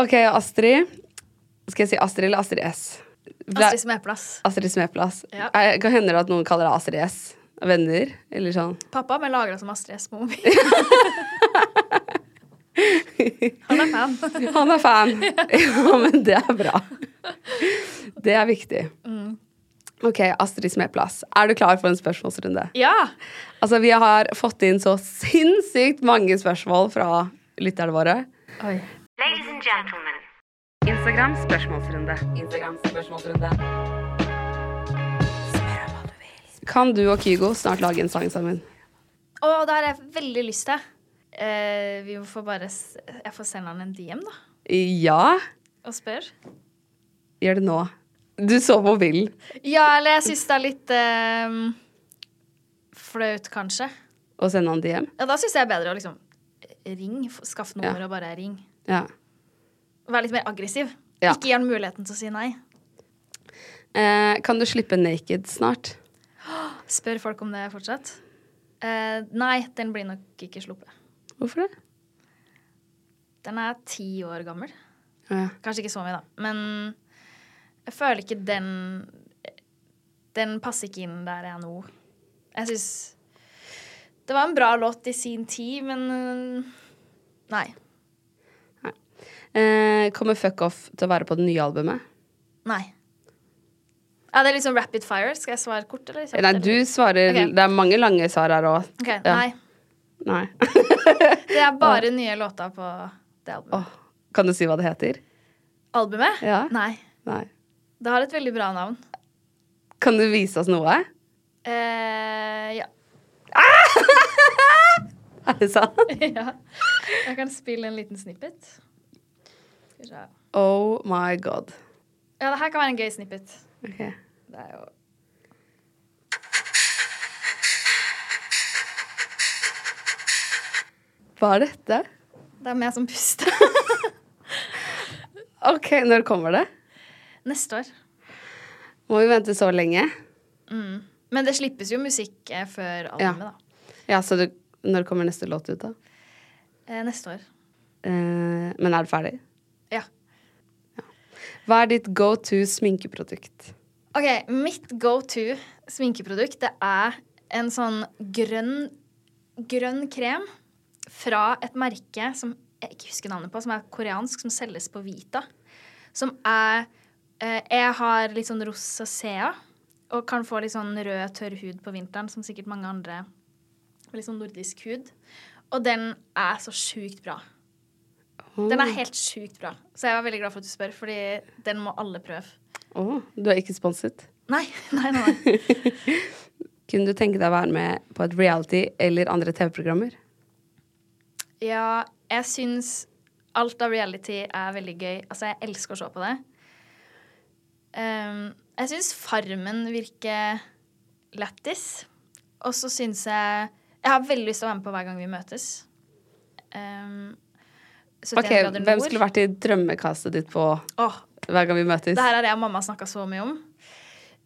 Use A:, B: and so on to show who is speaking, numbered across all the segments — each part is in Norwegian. A: Ok, Astrid. Skal jeg si Astrid eller Astrid S? Det er-
B: Astrid Smeplass.
A: Astrid Smeplass.
B: Ja.
A: Eh, Hva hender det at noen kaller deg Astrid S? Venner? Eller sånn.
B: Pappa har meg lagra som Astrid S. Momi. Han er fan.
A: Han er fan! ja, men det er bra. Det er viktig.
B: Mm.
A: Ok, Astrid Smeplass. Er du klar for en spørsmålsrunde?
B: Ja!
A: Altså, Vi har fått inn så sinnssykt mange spørsmål fra lytterne våre.
B: Oi.
C: Ladies and gentlemen,
A: Instagram spørsmålsrunde. Kan du og Kygo snart lage en sang sammen?
B: Å, det har jeg veldig lyst til. Eh, vi får bare s Jeg får sende han en DM, da,
A: Ja.
B: og spør.
A: Gjør det nå. Du så mobilen.
B: Ja, eller jeg syns det er litt eh, flaut, kanskje.
A: Og sende han DM?
B: Ja, da syns jeg det er bedre å liksom ring. f- Skaff nummer
A: Ja.
B: og bare ring.
A: Ja.
B: Vær litt mer aggressiv.
A: Ja.
B: Ikke gi han muligheten til å si nei.
A: Eh, kan du slippe Naked snart?
B: Spør folk om det fortsatt. Eh, nei, den blir nok ikke sluppet.
A: Hvorfor det?
B: Den er ti år gammel.
A: Ja.
B: Kanskje ikke så mye, da. Men jeg føler ikke den Den passer ikke inn der jeg er nå. Jeg syns Det var en bra låt i sin tid, men øh, Nei.
A: Eh, kommer Fuck Off til å være på det nye albumet?
B: Nei. Ja, det er liksom rapid fire. Skal jeg svare kort, eller? kjapt,
A: Nei,
B: eller?
A: du svarer
B: Ok.
A: Det er mange lange svar her òg.
B: Ok,
A: Ja.
B: Nei.
A: Nei.
B: Det er bare nye låter på det albumet.
A: Åh, kan du si hva det heter?
B: Albumet?
A: Ja.
B: Nei.
A: Nei.
B: Det har et veldig bra navn.
A: Kan du vise oss noe?
B: Eh, ja.
A: Er det sant?
B: ja. Jeg kan spille en liten snippet. Skal vi se.
A: Oh my god.
B: Ja, det her kan være en gøy snippet.
A: Ok.
B: Det er jo
A: Hva er dette?
B: Det er meg som puster.
A: OK, når kommer det?
B: Neste år.
A: Må vi vente så lenge?
B: Mm. Men det slippes jo musikk eh, før albumet,
A: Ja.
B: da.
A: Ja, så det, når kommer neste låt ut, da?
B: Eh, neste år.
A: Eh, men er du ferdig?
B: Ja.
A: Hva er ditt go to sminkeprodukt?
B: OK, mitt go to sminkeprodukt, det er en sånn grønn grønn krem fra et merke som jeg ikke husker navnet på, som er koreansk, som selges på Vita. Som er eh, Jeg har litt sånn rosacea og kan få litt sånn rød, tørr hud på vinteren, som sikkert mange andre med litt sånn nordisk hud. Og den er så sjukt bra. Den
A: Oh.
B: er helt sjukt bra. Så jeg var veldig glad for at du spør, fordi den må alle prøve.
A: Å, Oh, du er ikke sponset?
B: Nei, nei, nei. nei.
A: Kunne du tenke deg å være med på et reality eller andre TV-programmer?
B: Ja, jeg syns alt av reality er veldig gøy. Altså, jeg elsker å se på det. Ehm, jeg syns Farmen virker lættis. Og så syns jeg Jeg har veldig lyst til å være med på Hver gang vi møtes. Ehm, 71
A: Ok,
B: grader
A: Hvem
B: nord.
A: skulle vært i drømmekastet ditt på
B: Åh,
A: hver gang vi møtes?
B: det her har jeg og mamma snakka så mye om.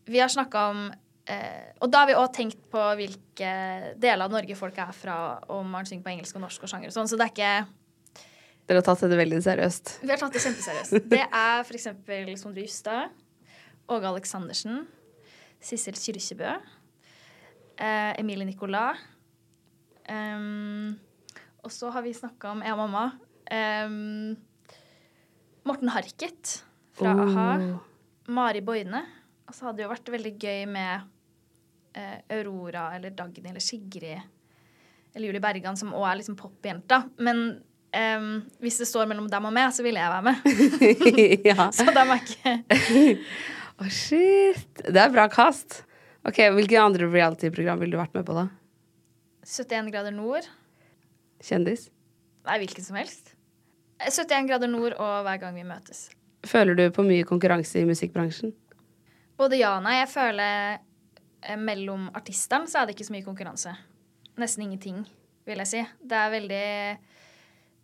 B: Vi har snakka om eh, Og da har vi òg tenkt på hvilke deler av Norge folk er fra, og om man synger på engelsk og norsk og sjanger og sånn, så det er ikke
A: Dere har tatt dette veldig seriøst.
B: Vi har tatt det kjempeseriøst. Det er f.eks. Sondre Justad, Åge Aleksandersen, Sissel Kyrkjebø, eh, Emilie Nicolas. em, og så har vi snakka om, jeg og mamma, em, Morten Harket fra
A: Oh.
B: a-ha. Mari Boine. Og så hadde det jo vært veldig gøy med eh, Aurora eller Dagny eller Sigrid eller Julie Bergan, som òg er liksom popjenta. Men em, hvis det står mellom dem og meg, så ville jeg være med.
A: ja.
B: Så dem er Altså, ikke
A: Å, shit. Det er bra kast. Ok, Hvilke andre reality-program ville du vært med på, da?
B: 71 grader nord.
A: Kjendis?
B: Nei, hvilken som helst. Eh, 71 grader nord og Hver gang vi møtes.
A: Føler du på mye konkurranse i musikkbransjen?
B: Både ja og nei. Jeg føler eh, mellom artistene så er det ikke så mye konkurranse. Nesten ingenting, vil jeg si. Det er veldig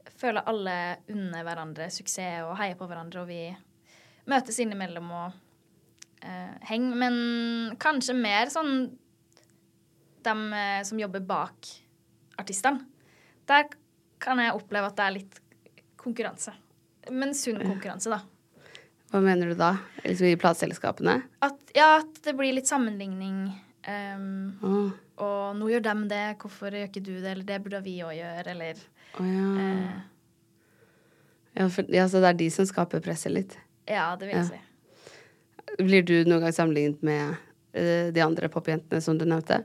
B: jeg Føler alle unner hverandre suksess og heier på hverandre, og vi møtes innimellom og eh, henger. Men kanskje mer sånn dem eh, som jobber bak artistene. Der kan jeg oppleve at det er litt konkurranse. Men sunn konkurranse, da.
A: Hva mener du da? Liksom I plateselskapene?
B: At, ja, at det blir litt sammenligning. ehm,
A: Å
B: og nå gjør dem det, hvorfor gjør ikke du det, eller det burde vi òg gjøre, eller
A: å ja.
B: eh,
A: Ja, for, ja. Så det er de som skaper presset litt.
B: Ja, det vil
A: Ja.
B: jeg si.
A: Blir du noen gang sammenlignet med eh, de andre popjentene som du nevnte?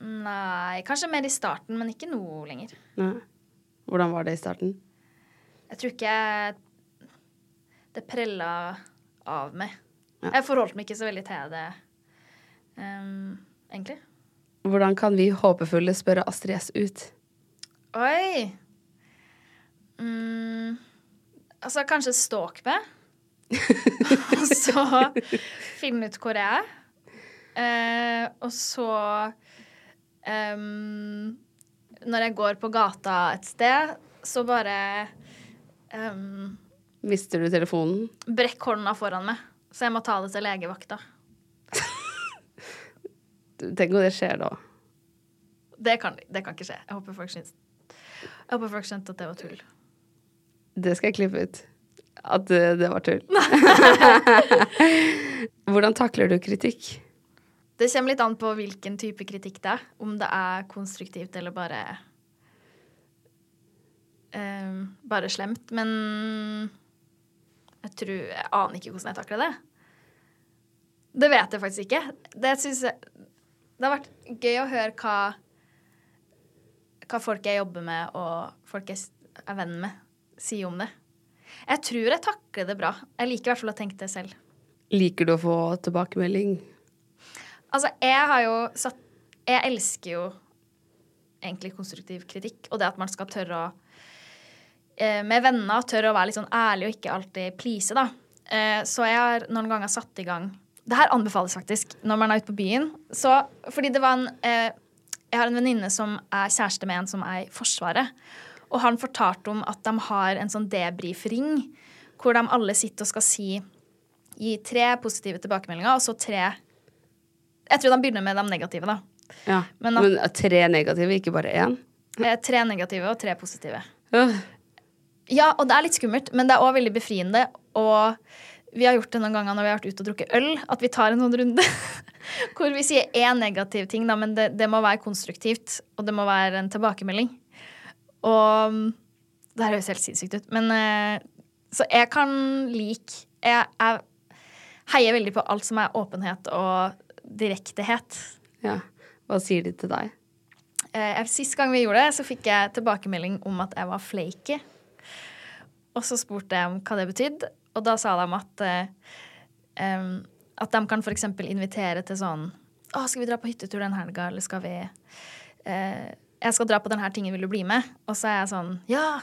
B: Nei, kanskje mer i starten, men ikke nå lenger.
A: Nei. Hvordan var det i starten?
B: Jeg tror ikke jeg det prella av meg.
A: Ja.
B: Jeg forholdt meg ikke så veldig til det, ehm, egentlig.
A: Hvordan kan vi håpefulle spørre Astrid S ut?
B: Oi! Mm, altså, kanskje stalk meg. og så finne ut hvor jeg er. Eh, og så em, Når jeg går på gata et sted, så bare em,
A: Mister du telefonen?
B: Brekk hånda foran meg, så jeg må ta det til legevakta.
A: Tenk om det skjer da.
B: Det kan, det kan ikke skje. Jeg håper folk syns Jeg håper folk skjønte at det var tull.
A: Det skal jeg klippe ut. At eh, det var tull. Hvordan takler du kritikk?
B: Det kommer litt an på hvilken type kritikk det er. Om det er konstruktivt eller bare eh, Bare slemt. Men jeg tror Jeg aner ikke hvordan jeg takler det. Det vet jeg faktisk ikke. Det synes jeg Det har vært gøy å høre hva hva folk jeg jobber med, og folk jeg s- er venn med, sier om det. Jeg tror jeg takler det bra. Jeg liker i hvert fall å tenke det selv.
A: Liker du å få tilbakemelding?
B: Altså, jeg har jo satt Jeg elsker jo egentlig konstruktiv kritikk, og det at man skal tørre å eh, Med venner tørre å være litt sånn ærlig og ikke alltid please, da. Eh, Så jeg har noen ganger satt i gang Det her anbefales faktisk når man er ute på byen. Så, fordi det var en eh, Jeg har en venninne som er kjæreste med en som er i Forsvaret. Og han fortalte om at de har en sånn debrief-ring hvor de alle sitter og skal si Gi tre positive tilbakemeldinger, og så tre jeg tror de begynner med de negative, da.
A: Ja.
B: Men
A: Men,
B: at-
A: eh, tre negative, ikke bare én?
B: Eh, Tre negative og tre positive.
A: Øh,
B: Ja, og det er litt skummelt, men det er òg veldig befriende. Og vi har gjort det noen ganger når vi har vært ute og drukket øl, at vi tar en sånn runde hvor vi sier én negativ ting, da, men det, det må være konstruktivt, og det må være en tilbakemelding. Og mm, det her høres helt sinnssykt ut, men eh, Så jeg kan like Jeg, jeg heier veldig på alt som er åpenhet og direktehet.
A: Ja. Hva sier de til deg?
B: Eh, sist gang vi gjorde det, så fikk jeg tilbakemelding om at jeg var flaky. Og så spurte jeg om hva det betydde, og da sa de at eh, em, at de kan f.eks. invitere til sånn Å, skal vi dra på hyttetur den helga, eller skal vi eh, Jeg skal dra på den her tingen, vil du bli med? Og så er jeg sånn Ja!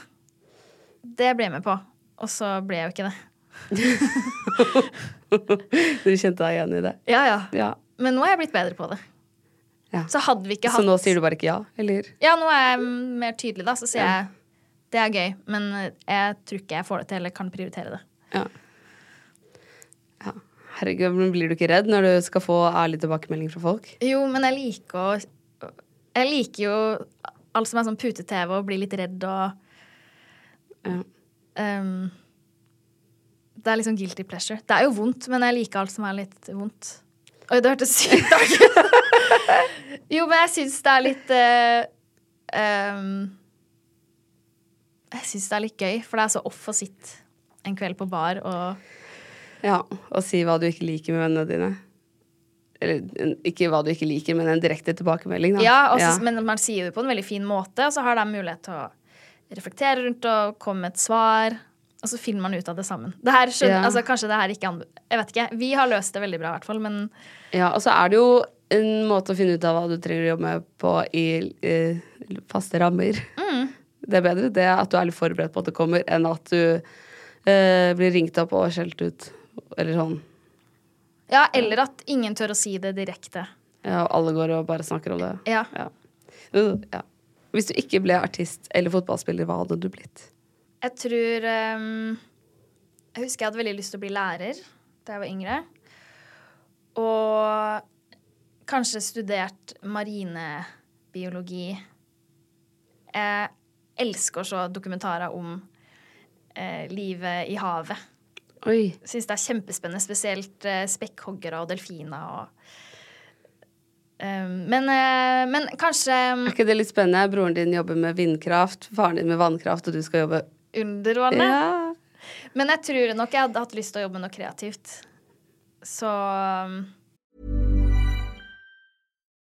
B: Det blir jeg med på. Og så ble jeg jo ikke det.
A: Du kjente deg igjen i det?
B: Ja, ja.
A: Ja.
B: Men nå er jeg blitt bedre på det.
A: Ja.
B: Så hadde vi ikke
A: Så
B: hatt
A: nå sier du bare ikke ja, eller?
B: Ja, nå er jeg mer tydelig, da. Så sier jeg det er gøy, men eh, jeg tror ikke jeg får det til eller kan prioritere det.
A: Ja. ja. Herregud, men blir du ikke redd når du skal få ærlig tilbakemelding fra folk?
B: Jo, men jeg liker å Jeg liker jo alt som er sånn pute-TV og blir litt redd og
A: Ja.
B: ehm, Det er liksom guilty pleasure. Det er jo vondt, men jeg liker alt som er litt vondt. Oi, det hørtes sykt ut! jo, men jeg syns det er litt eh, ehm, Jeg syns det er litt gøy, for det er så off å sitte en kveld på bar og
A: ja. Og si hva du ikke liker med vennene dine. Eller en- ikke hva du ikke liker, men en direkte tilbakemelding, da.
B: Ja, og så-
A: Ja.
B: men man sier det på en veldig fin måte, og så har de mulighet til å reflektere rundt og komme med et svar. Og så finner man ut av det sammen. Det her skjønner,
A: Ja.
B: altså Kanskje det her ikke anbe- Jeg vet ikke. Vi har løst det veldig bra, i hvert fall, men
A: Ja, og så er det jo en måte å finne ut av hva du trenger å jobbe med på i eh, faste rammer. Det er bedre det at du er litt forberedt på at det kommer, enn at du eh, blir ringt opp og skjelt ut. Eller sånn.
B: Ja, eller at ingen tør å si det direkte.
A: Ja, og alle går og bare snakker om det.
B: Ja.
A: Ja. Uh, ja. Hvis du ikke ble artist eller fotballspiller, hva hadde du blitt?
B: Jeg tror ehm, Jeg husker jeg hadde veldig lyst til å bli lærer da jeg var yngre. Og kanskje studert marinebiologi. Jeg, elsker å se dokumentarer om eh, livet i havet.
A: Oi.
B: Syns det er kjempespennende, spesielt eh, spekkhoggere og delfiner og eh, men, eh, men kanskje ehm,
A: Er ikke det litt spennende? Broren din jobber med vindkraft, faren din med vannkraft, og du skal jobbe
B: under vannet?
A: Ja.
B: Men jeg tror nok jeg hadde hatt lyst til å jobbe med noe kreativt. Så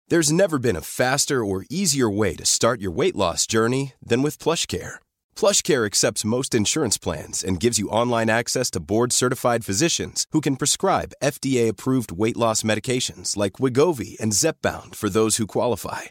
C: There's never been a faster or easier way to start your weight loss journey than with PlushCare. PlushCare accepts most insurance plans and gives you online access to board-certified physicians who can prescribe FDA-approved weight loss medications like Wigovi and Zepbound for those who qualify.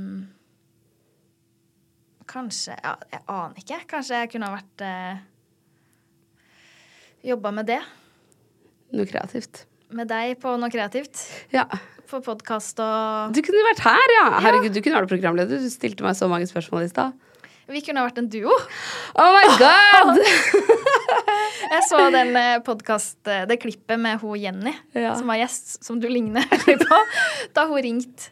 B: Kanskje ja, Jeg aner ikke. Kanskje jeg kunne ha vært eh, Jobba med det.
A: Noe kreativt.
B: Med deg på noe kreativt.
A: Ja.
B: På podkast og
A: Du kunne vært her, ja! Herregud, du kunne vært programleder. Du stilte meg så mange spørsmål i stad.
B: Vi kunne ha vært en duo.
A: Oh my god!
B: Jeg så den eh, podcast, eh, det klippet med hun Jenny,
A: Ja.
B: som var gjest, som du ligner veldig på, da hun ringte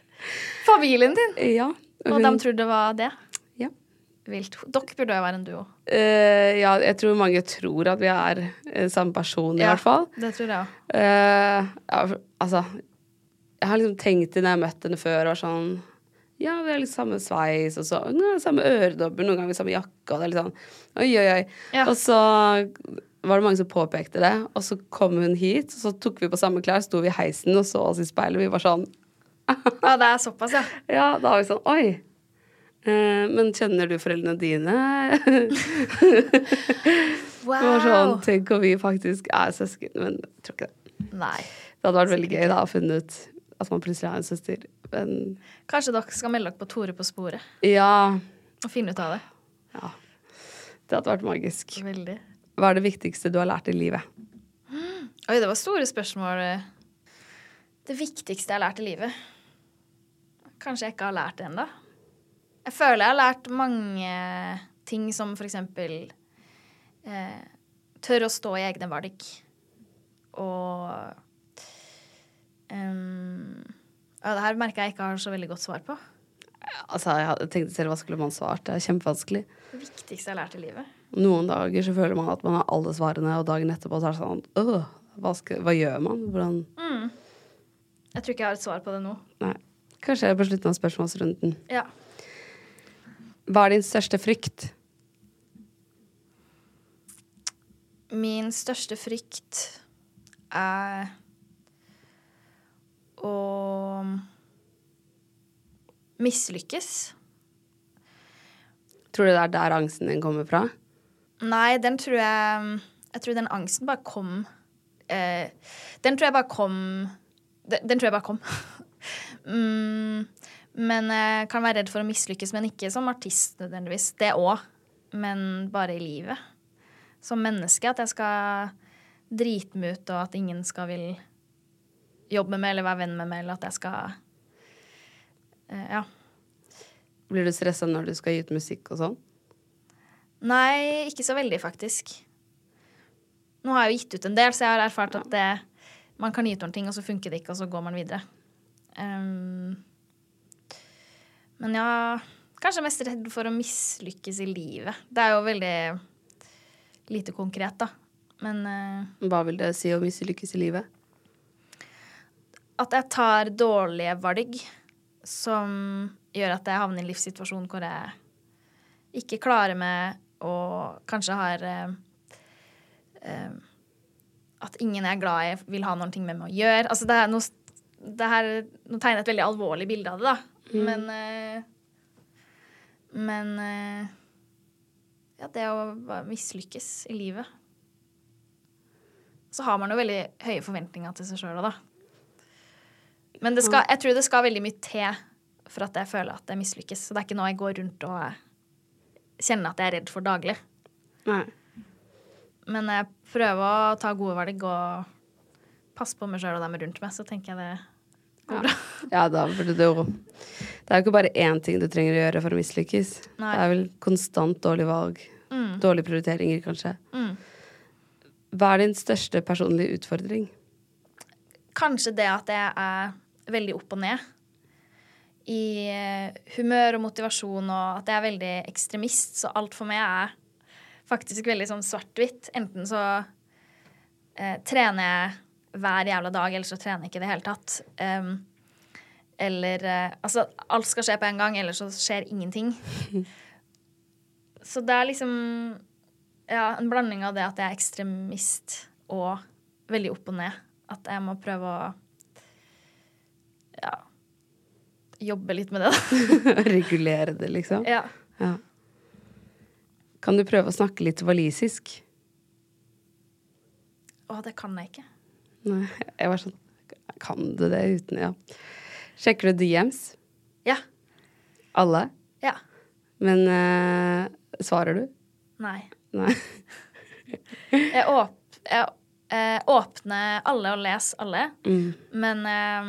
B: familien din.
A: ja.
B: Og
A: hun-
B: de trodde det var det.
A: Ja.
B: Vilt. Dere burde jo være en duo.
A: Eh, ja, jeg tror mange tror at vi er eh, samme person, i
B: Ja,
A: hvert fall.
B: Det tror jeg òg.
A: Eh, ja, for- altså Jeg har liksom tenkt det når jeg har møtt henne før, og vært sånn Ja, vi har litt samme sveis, og så ja, samme øredobber, noen ganger samme jakke, og det er litt sånn Oi, oi, oi.
B: Ja.
A: Og så var det mange som påpekte det, og så kom hun hit, og så tok vi på samme klær, sto vi i heisen og så oss i speilet, vi var sånn
B: Ja, det er såpass, ja.
A: Ja, da var vi sånn Oi. Eh, men kjenner du foreldrene dine? Det var sånn,
B: Wow.
A: Tenk om vi faktisk er søsken, men jeg tror ikke det.
B: Nei.
A: Det hadde vært veldig gøy da å finne ut at man plutselig er en søster. Men
B: Kanskje dere skal melde dere på Tore på sporet
A: ja,
B: og finne ut av det.
A: det hadde vært magisk.
B: Veldig.
A: Hva er det viktigste du har lært i livet?
B: Oi, det var store spørsmål. Det viktigste jeg har lært i livet. Kanskje jeg ikke har lært det ennå. Jeg føler jeg har lært mange ting som for eksempel eh, tør å stå i egne valg. Og em, ja, Det her merker jeg ikke har så veldig godt svar på.
A: Altså, jeg hadde- tenkte selv, hva skulle man svart? Det er kjempevanskelig.
B: Det viktigste jeg har lært i livet.
A: Noen dager så føler man at man har alle svarene, og dagen etterpå så er det sånn Åh, hva, skal, hva gjør man? Hvordan
B: Jeg tror ikke jeg har et svar på det nå.
A: Nei. Kanskje på slutten av spørsmålsrunden.
B: Ja.
A: Hva er din største frykt?
B: Min største frykt er å mislykkes.
A: Tror du det er der angsten din kommer fra?
B: Nei, den tror jeg Jeg tror den angsten bare kom eh, Den tror jeg bare kom Den, den tror jeg bare kom. mm, men eh, kan være redd for å mislykkes, men ikke som artist nødvendigvis. Det òg. Men bare i livet. Som menneske. At jeg skal drite meg ut, og at ingen skal vil jobbe med meg eller være venn med meg, eller at jeg skal eh, Ja.
A: Blir du stressa når du skal gi ut musikk og sånn?
B: Nei, ikke så veldig, faktisk. Nå har jeg jo gitt ut en del, så jeg har erfart at det, man kan gi ut noen ting, og så funker det ikke, og så går man videre. Ehm, men ja Kanskje mest redd for å mislykkes i livet. Det er jo veldig lite konkret, da. Men eh,
A: Hva vil det si å mislykkes i livet?
B: at jeg tar dårlige valg som gjør at jeg havner i en livssituasjon hvor jeg ikke klarer meg og kanskje har eh, eh, At ingen jeg er glad i, vil ha noe med meg å gjøre. Altså, det er noe, det her, nå tegner jeg et veldig alvorlig bilde av det, da. Men eh, Men eh, Ja, det å bare mislykkes i livet. Så har man jo veldig høye forventninger til seg sjøl òg, da. Men det skal, jeg tror det skal veldig mye til for at jeg føler at jeg mislykkes. Så det er ikke noe jeg går rundt og eh, kjenner at jeg er redd for daglig.
A: Nei.
B: Men jeg prøver å ta gode valg og passe på meg sjøl og dem rundt meg, så tenker jeg det går bra.
A: Ja da, for det, det er jo Det er jo ikke bare én ting du trenger å gjøre for å mislykkes.
B: Nei.
A: Det er vel konstant dårlige valg. Dårlige prioriteringer, kanskje. Hva er din største personlige utfordring?
B: Kanskje det at jeg er veldig opp og ned i eh, humør og motivasjon, og at jeg er veldig ekstremist, så alt for meg er faktisk veldig sånn svart-hvitt. Enten så eh, trener jeg hver jævla dag, eller så trener jeg ikke i det hele tatt. Em, eller eh, Altså, alt skal skje på en gang, eller så skjer ingenting. Så det er liksom ja, en blanding av det at jeg er ekstremist og veldig opp og ned. At jeg må prøve å ja, jobbe litt med det, da.
A: Regulere det, liksom?
B: ja.
A: Ja. Kan du prøve å snakke litt walisisk?
B: Å, det kan jeg ikke.
A: Nei, jeg var sånn Kan du det uten Ja. Sjekker du DMs?
B: Ja.
A: Alle?
B: Ja.
A: Men eh, svarer du?
B: Nei.
A: Nei.
B: Jeg, åp jeg eh, åpner alle og leser alle,
A: Mm.
B: men eh,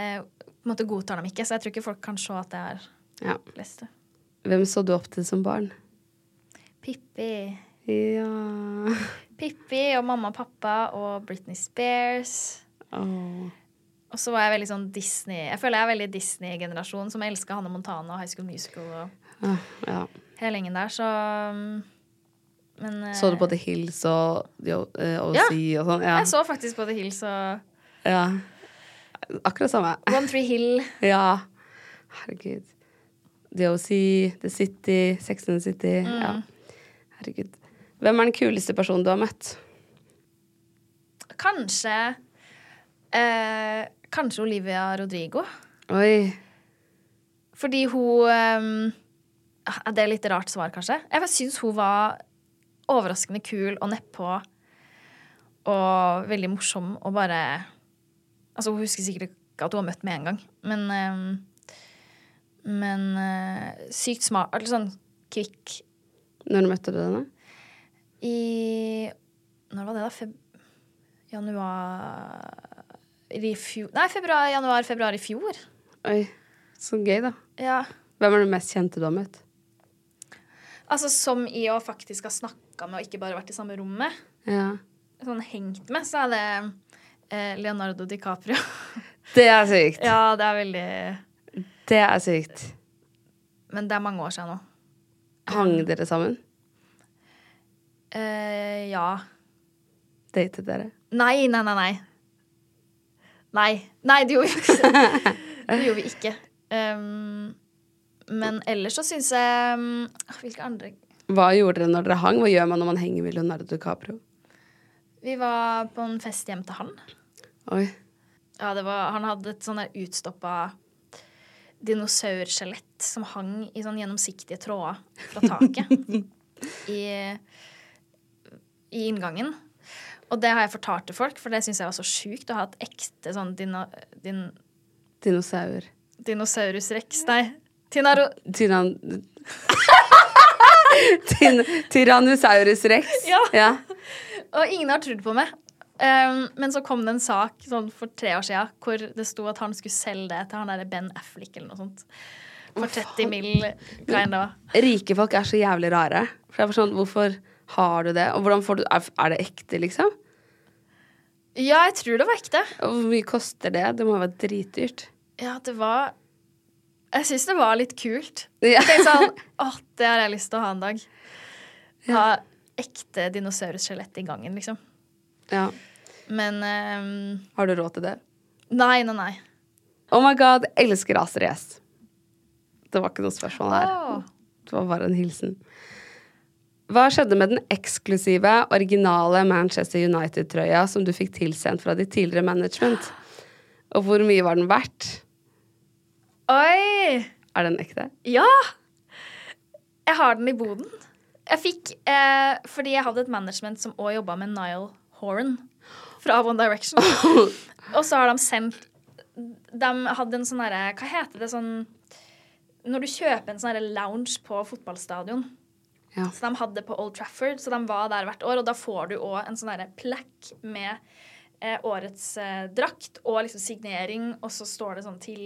B: eh, på en måte godtar dem ikke, så jeg tror ikke folk kan se at jeg har
A: Ja.
B: lest det.
A: Hvem så du opp til som barn?
B: Pippi.
A: Ja
B: Pippi og mamma og pappa og Britney Spears.
A: Åh.
B: Og så var jeg veldig sånn Disney Jeg føler jeg er veldig Disney-generasjon, som elsker Hanne Montana og High School Musical og
A: Ah, ja.
B: hele gjengen der, så um, Men eh,
A: Så du både Hills og The O- eh, OC og sånn? Ja.
B: Jeg så faktisk både Hills og
A: ja. Akkurat samme.
B: One Tree Hill.
A: Ja. Herregud. The OC, The City, Sex and the City. Ja. Herregud. Hvem er den kuleste personen du har møtt?
B: Kanskje eh, Kanskje Olivia Rodrigo.
A: Oi.
B: Fordi hun ehm, ah, Det er litt rart svar, kanskje. Jeg bare syns hun var overraskende kul og nedpå og veldig morsom og bare Altså, hun husker sikkert ikke at hun har møtt meg en gang, men ehm, Men eh, sykt smart. Eller sånn kvikk
A: Når møtte du henne?
B: i Når var det, da? Feb januar i fjor Nei, februar, januar, februar i fjor.
A: Oi. Så gøy, da.
B: Ja.
A: Hvem er den mest kjente du har møtt?
B: Altså som i å faktisk ha snakka med og ikke bare vært i samme rommet.
A: Ja.
B: Sånn hengt med, så er det eh, Leonardo DiCaprio.
A: Det er sykt.
B: ja, det er veldig
A: Det er sykt.
B: Men det er mange år siden nå.
A: Hang dere sammen?
B: Eh, ja.
A: Datet dere?
B: Nei, nei, nei, nei. Nei. Nei, det gjorde vi ikke. Det gjorde vi ikke. Um, men ellers så syns jeg um, Hvilke andre
A: Hva gjorde dere når dere hang? Hva gjør man når man henger med Leonardo DiCaprio?
B: Vi var på en fest hjem til han.
A: Oi.
B: Ja, det var, han hadde et sånn der utstoppa dinosaurskjelett som hang i sånn gjennomsiktige tråder fra taket i, i inngangen. Og det har jeg fortalt til folk, for det syns jeg var så sjukt å ha et ekte sånn dino, din,
A: Dinosaur.
B: dinosaurus rex Nei, tinaro,
A: Tyrann... Tyn Tyrannosaurus rex.
B: Ja.
A: ja.
B: Og ingen har trodd på meg. Um, men så kom det en sak sånn for tre år siden hvor det sto at han skulle selge det til han der Ben Affleck eller noe sånt. For 30 mill. kind of.
A: Rike folk er så jævlig rare. For jeg var sånn, hvorfor Har du det? Og hvordan får du Er er det ekte, liksom?
B: Ja, jeg tror det var ekte.
A: Og hvor mye koster det? Det må jo være dritdyrt.
B: Ja, det var Jeg syns det var litt kult.
A: Ja.
B: Jeg tenkte sånn Å, det har jeg lyst til å ha en dag. Ha ekte dinosaurskjelett i gangen, liksom.
A: ja.
B: Men ehm,
A: Har du råd til det?
B: Nei, nei, nei.
A: Oh my god, elsker racerrace. Det var ikke noe spørsmål her.
B: Åh.
A: Det var bare en hilsen. Hva skjedde med den eksklusive, originale Manchester United-trøya som du fikk tilsendt fra ditt tidligere management? Og hvor mye var den verdt?
B: Oi!
A: Er den ekte?
B: Ja! Jeg har den i boden. Jeg fikk eh, Fordi jeg hadde et management som òg jobba med Niall Horan fra One Direction. Og så har de sendt De hadde en sånn derre Hva heter det sånn Når du kjøper en sånn derre lounge på fotballstadion.
A: Ja.
B: Så de hadde på Old Trafford, så de var der hvert år. Og da får du òg en sånn derre plekk med eh, årets eh, drakt og liksom signering, og så står det sånn til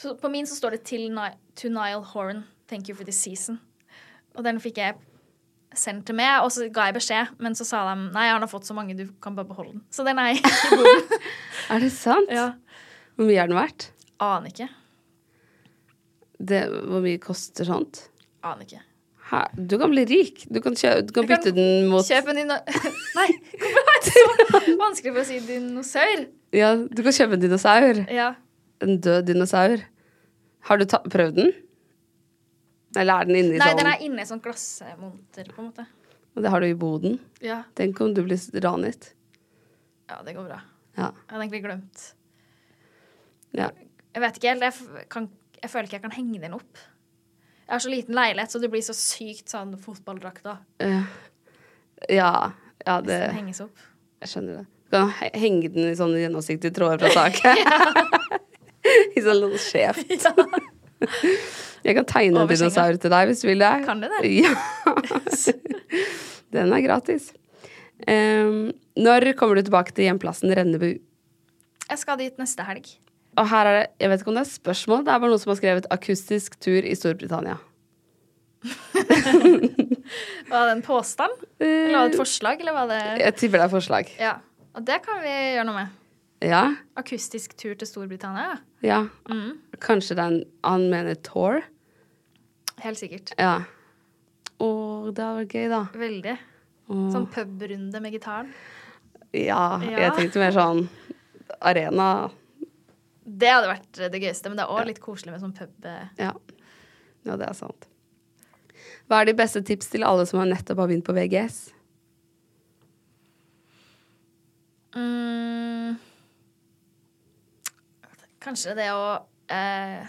B: så På min så står det til Ni To Niall Horan, thank you for this season. Og den fikk jeg sendt til meg, og så ga jeg beskjed, men så sa de nei, han har fått så mange, du kan bare beholde den. Så den er jeg ikke god.
A: Er det sant?
B: Ja.
A: Hvor mye er den verdt?
B: Aner ikke.
A: Det, hvor mye koster sånt?
B: Aner ikke.
A: Hæ? Du kan bli rik. Du kan, kjø du kan
B: Du kan
A: bytte den mot
B: Kjøp en dino... Nei, hvorfor var det så vanskelig for å si dinosaur?
A: Ja, du kan kjøpe en dinosaur.
B: Ja.
A: En død dinosaur. Har du ta prøvd den? Eller er den inni
B: Nei,
A: sånn?
B: den er inne i sånn glassmonter, på en måte.
A: Og det har du i boden.
B: Ja.
A: Tenk om du blir ranet.
B: ja, det går bra.
A: Ja.
B: Jeg hadde egentlig glemt.
A: ja.
B: Jeg vet ikke helt. Jeg, f- kan, jeg føler ikke jeg kan henge den opp. Jeg har så liten leilighet, så det blir så sykt sånn fotballdrakt da.
A: Ja, ja
B: Hvis
A: det
B: den henges opp.
A: Jeg skjønner det. Du kan he- henge den i sånne gjennomsiktige tråder fra taket. I sånn liten skjev.
B: Ja.
A: Jeg kan tegne en
B: Over senga.
A: dinosaur til deg hvis du vil det.
B: Kan du det?
A: Ja. Den er gratis. Em, når kommer du tilbake til hjemplassen Rennebu?
B: Jeg skal dit neste helg.
A: Og her er det, Jeg vet ikke om det er spørsmål, det er bare noen som har skrevet 'akustisk tur i Storbritannia'.
B: Var det en påstand? Eller var det et forslag? Eller var det
A: Eh, Jeg tipper det er forslag.
B: Ja. Og det kan vi gjøre noe med.
A: Ja?
B: Akustisk tur til Storbritannia, ja.
A: Ja. Kanskje det er en Han mener tour?
B: Helt sikkert.
A: Ja. Å, det hadde vært gøy, da.
B: Veldig. Sånn pubrunde med gitaren.
A: Ja, jeg
B: Ja.
A: tenkte mer sånn arena.
B: Det hadde vært det gøyeste, men det er òg litt koselig med sånn pub. eh.
A: Ja. ja, det er sant. Hva er de beste tips til alle som har nettopp har begynt på VGS?
B: Mm. Kanskje det å eh,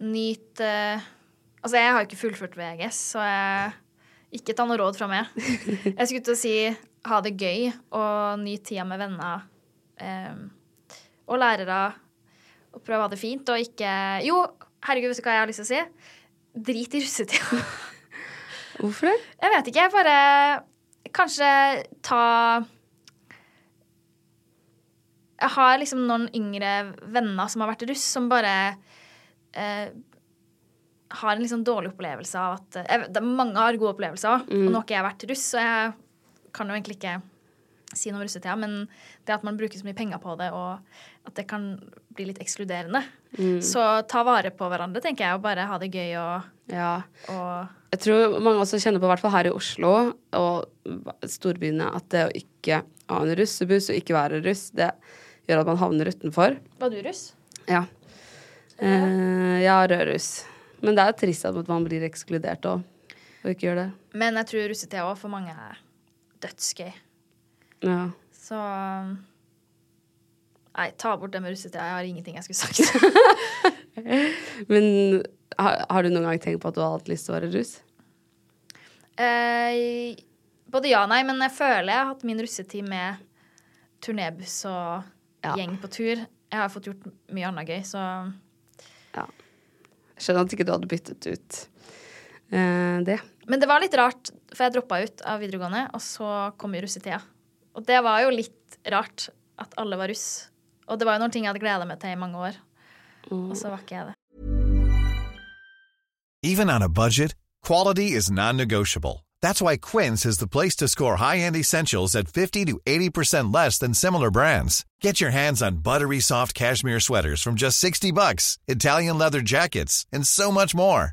B: nyte Altså, jeg har jo ikke fullført VGS, så jeg, ikke ta noe råd fra meg. Jeg skulle til å si ha det gøy og nyt tida med venner eh, og lærere. Og prøve å ha det fint og ikke Jo, herregud, vet du hva jeg har lyst til å si? Drit i russetida.
A: Hvorfor det?
B: Jeg vet ikke. Jeg bare Kanskje ta Jeg har liksom noen yngre venner som har vært russ, som bare eh, har en liksom dårlig opplevelse av at eh, jeg, vet- det, er Mange har gode opplevelser òg. Og nå har ikke jeg vært russ, så jeg kan jo egentlig ikke si noe om russetida. Men det at man bruker så mye penger på det, og at det kan bli litt ekskluderende. Så ta vare på hverandre, tenker jeg, og bare ha det gøy og,
A: Ja.
B: og
A: Jeg tror mange også kjenner på, i hvert fall her i Oslo og storbyene, at det å ikke ha en russebuss og ikke være russ, det gjør at man havner utenfor.
B: Var du russ?
A: Ja. Eh, ja, rødruss. Men det er jo trist at man blir ekskludert og, og ikke gjør det.
B: Men jeg tror russetida òg for mange er dødsgøy.
A: Ja.
B: Så Nei, ta bort det med russetida. Jeg har ingenting jeg skulle sagt.
A: Men har, har du noen gang tenkt på at du har hatt lyst til å være russ?
B: eh, både ja og nei, men jeg føler jeg har hatt min russetid med turnébuss og gjeng på tur. Jeg har fått gjort mye annet gøy, så
A: Jeg skjønner at ikke du hadde byttet ut eh, det.
B: Men det var litt rart, for jeg droppa ut av videregående, og så kom jo russetida. Og det var jo litt rart at alle var russ. Og det var jo noen ting jeg hadde gleda meg til i mange år. Og så var ikke jeg det.
D: Even on a budget, quality is non-negotiable. That's why Quince is the place to score high-end essentials at 50 to 80% less than similar brands. Get your hands on buttery soft cashmere sweaters from just 60 bucks, Italian leather jackets, and so much more.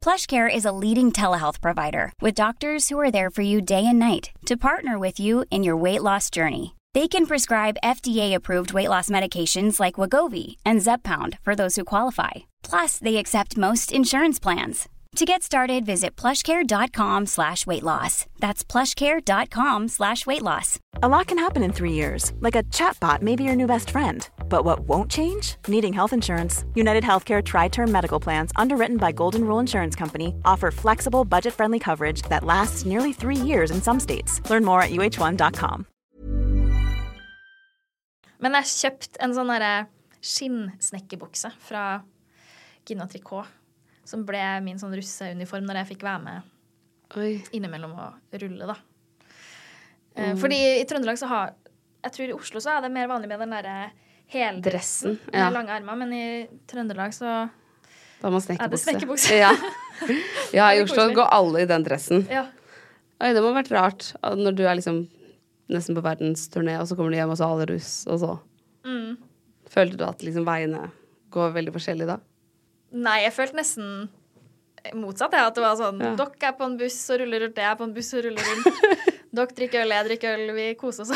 E: PlushCare is a leading telehealth provider with doctors who are there for you day and night to partner with you in your weight loss journey. They can prescribe FDA-approved weight loss medications like Wagovi and Zepbound for those who qualify. Plus, they accept most insurance plans. To get started, visit plushcare.com slash weight loss. That's plushcare.com slash weight loss.
F: A lot can happen in three years, like a chatbot may be your new best friend. But what won't change? Needing health insurance. United Healthcare Tri Term Medical Plans, underwritten by Golden Rule Insurance Company, offer flexible, budget friendly coverage that lasts nearly three years in some states. Learn more at uh1.com.
B: Men jeg har kjøpt en sånn derre skinnsnekkerbukse fra Gina Tricot. Som ble min sånn russeuniform når jeg fikk være med
A: Oi.
B: innimellom og rulle, da.
A: Mm.
B: Eh, Fordi i Trøndelag så har Jeg tror i Oslo så er det mer vanlig med den derre
A: Dressen,
B: heldressen
A: ja.
B: med lange armer, men i Trøndelag så
A: Da må man
B: er det
A: snekkerbukse.
B: snekkerbukse.
A: Ja. ja, i
B: Det er
A: Oslo
B: koselig.
A: går alle i den dressen.
B: ja.
A: Oi, det må ha vært rart at når du er liksom nesten på verdensturné, og så kommer du hjem, og så er alle russ, og så
B: Mm.
A: Følte du at liksom veiene går veldig forskjellig da?
B: Nei, jeg følte nesten motsatt. Jeg, at det var sånn
A: Ja.
B: Dere er på en buss og ruller rundt, jeg er på en buss og ruller rundt. dere drikker øl, jeg drikker øl, vi koser oss.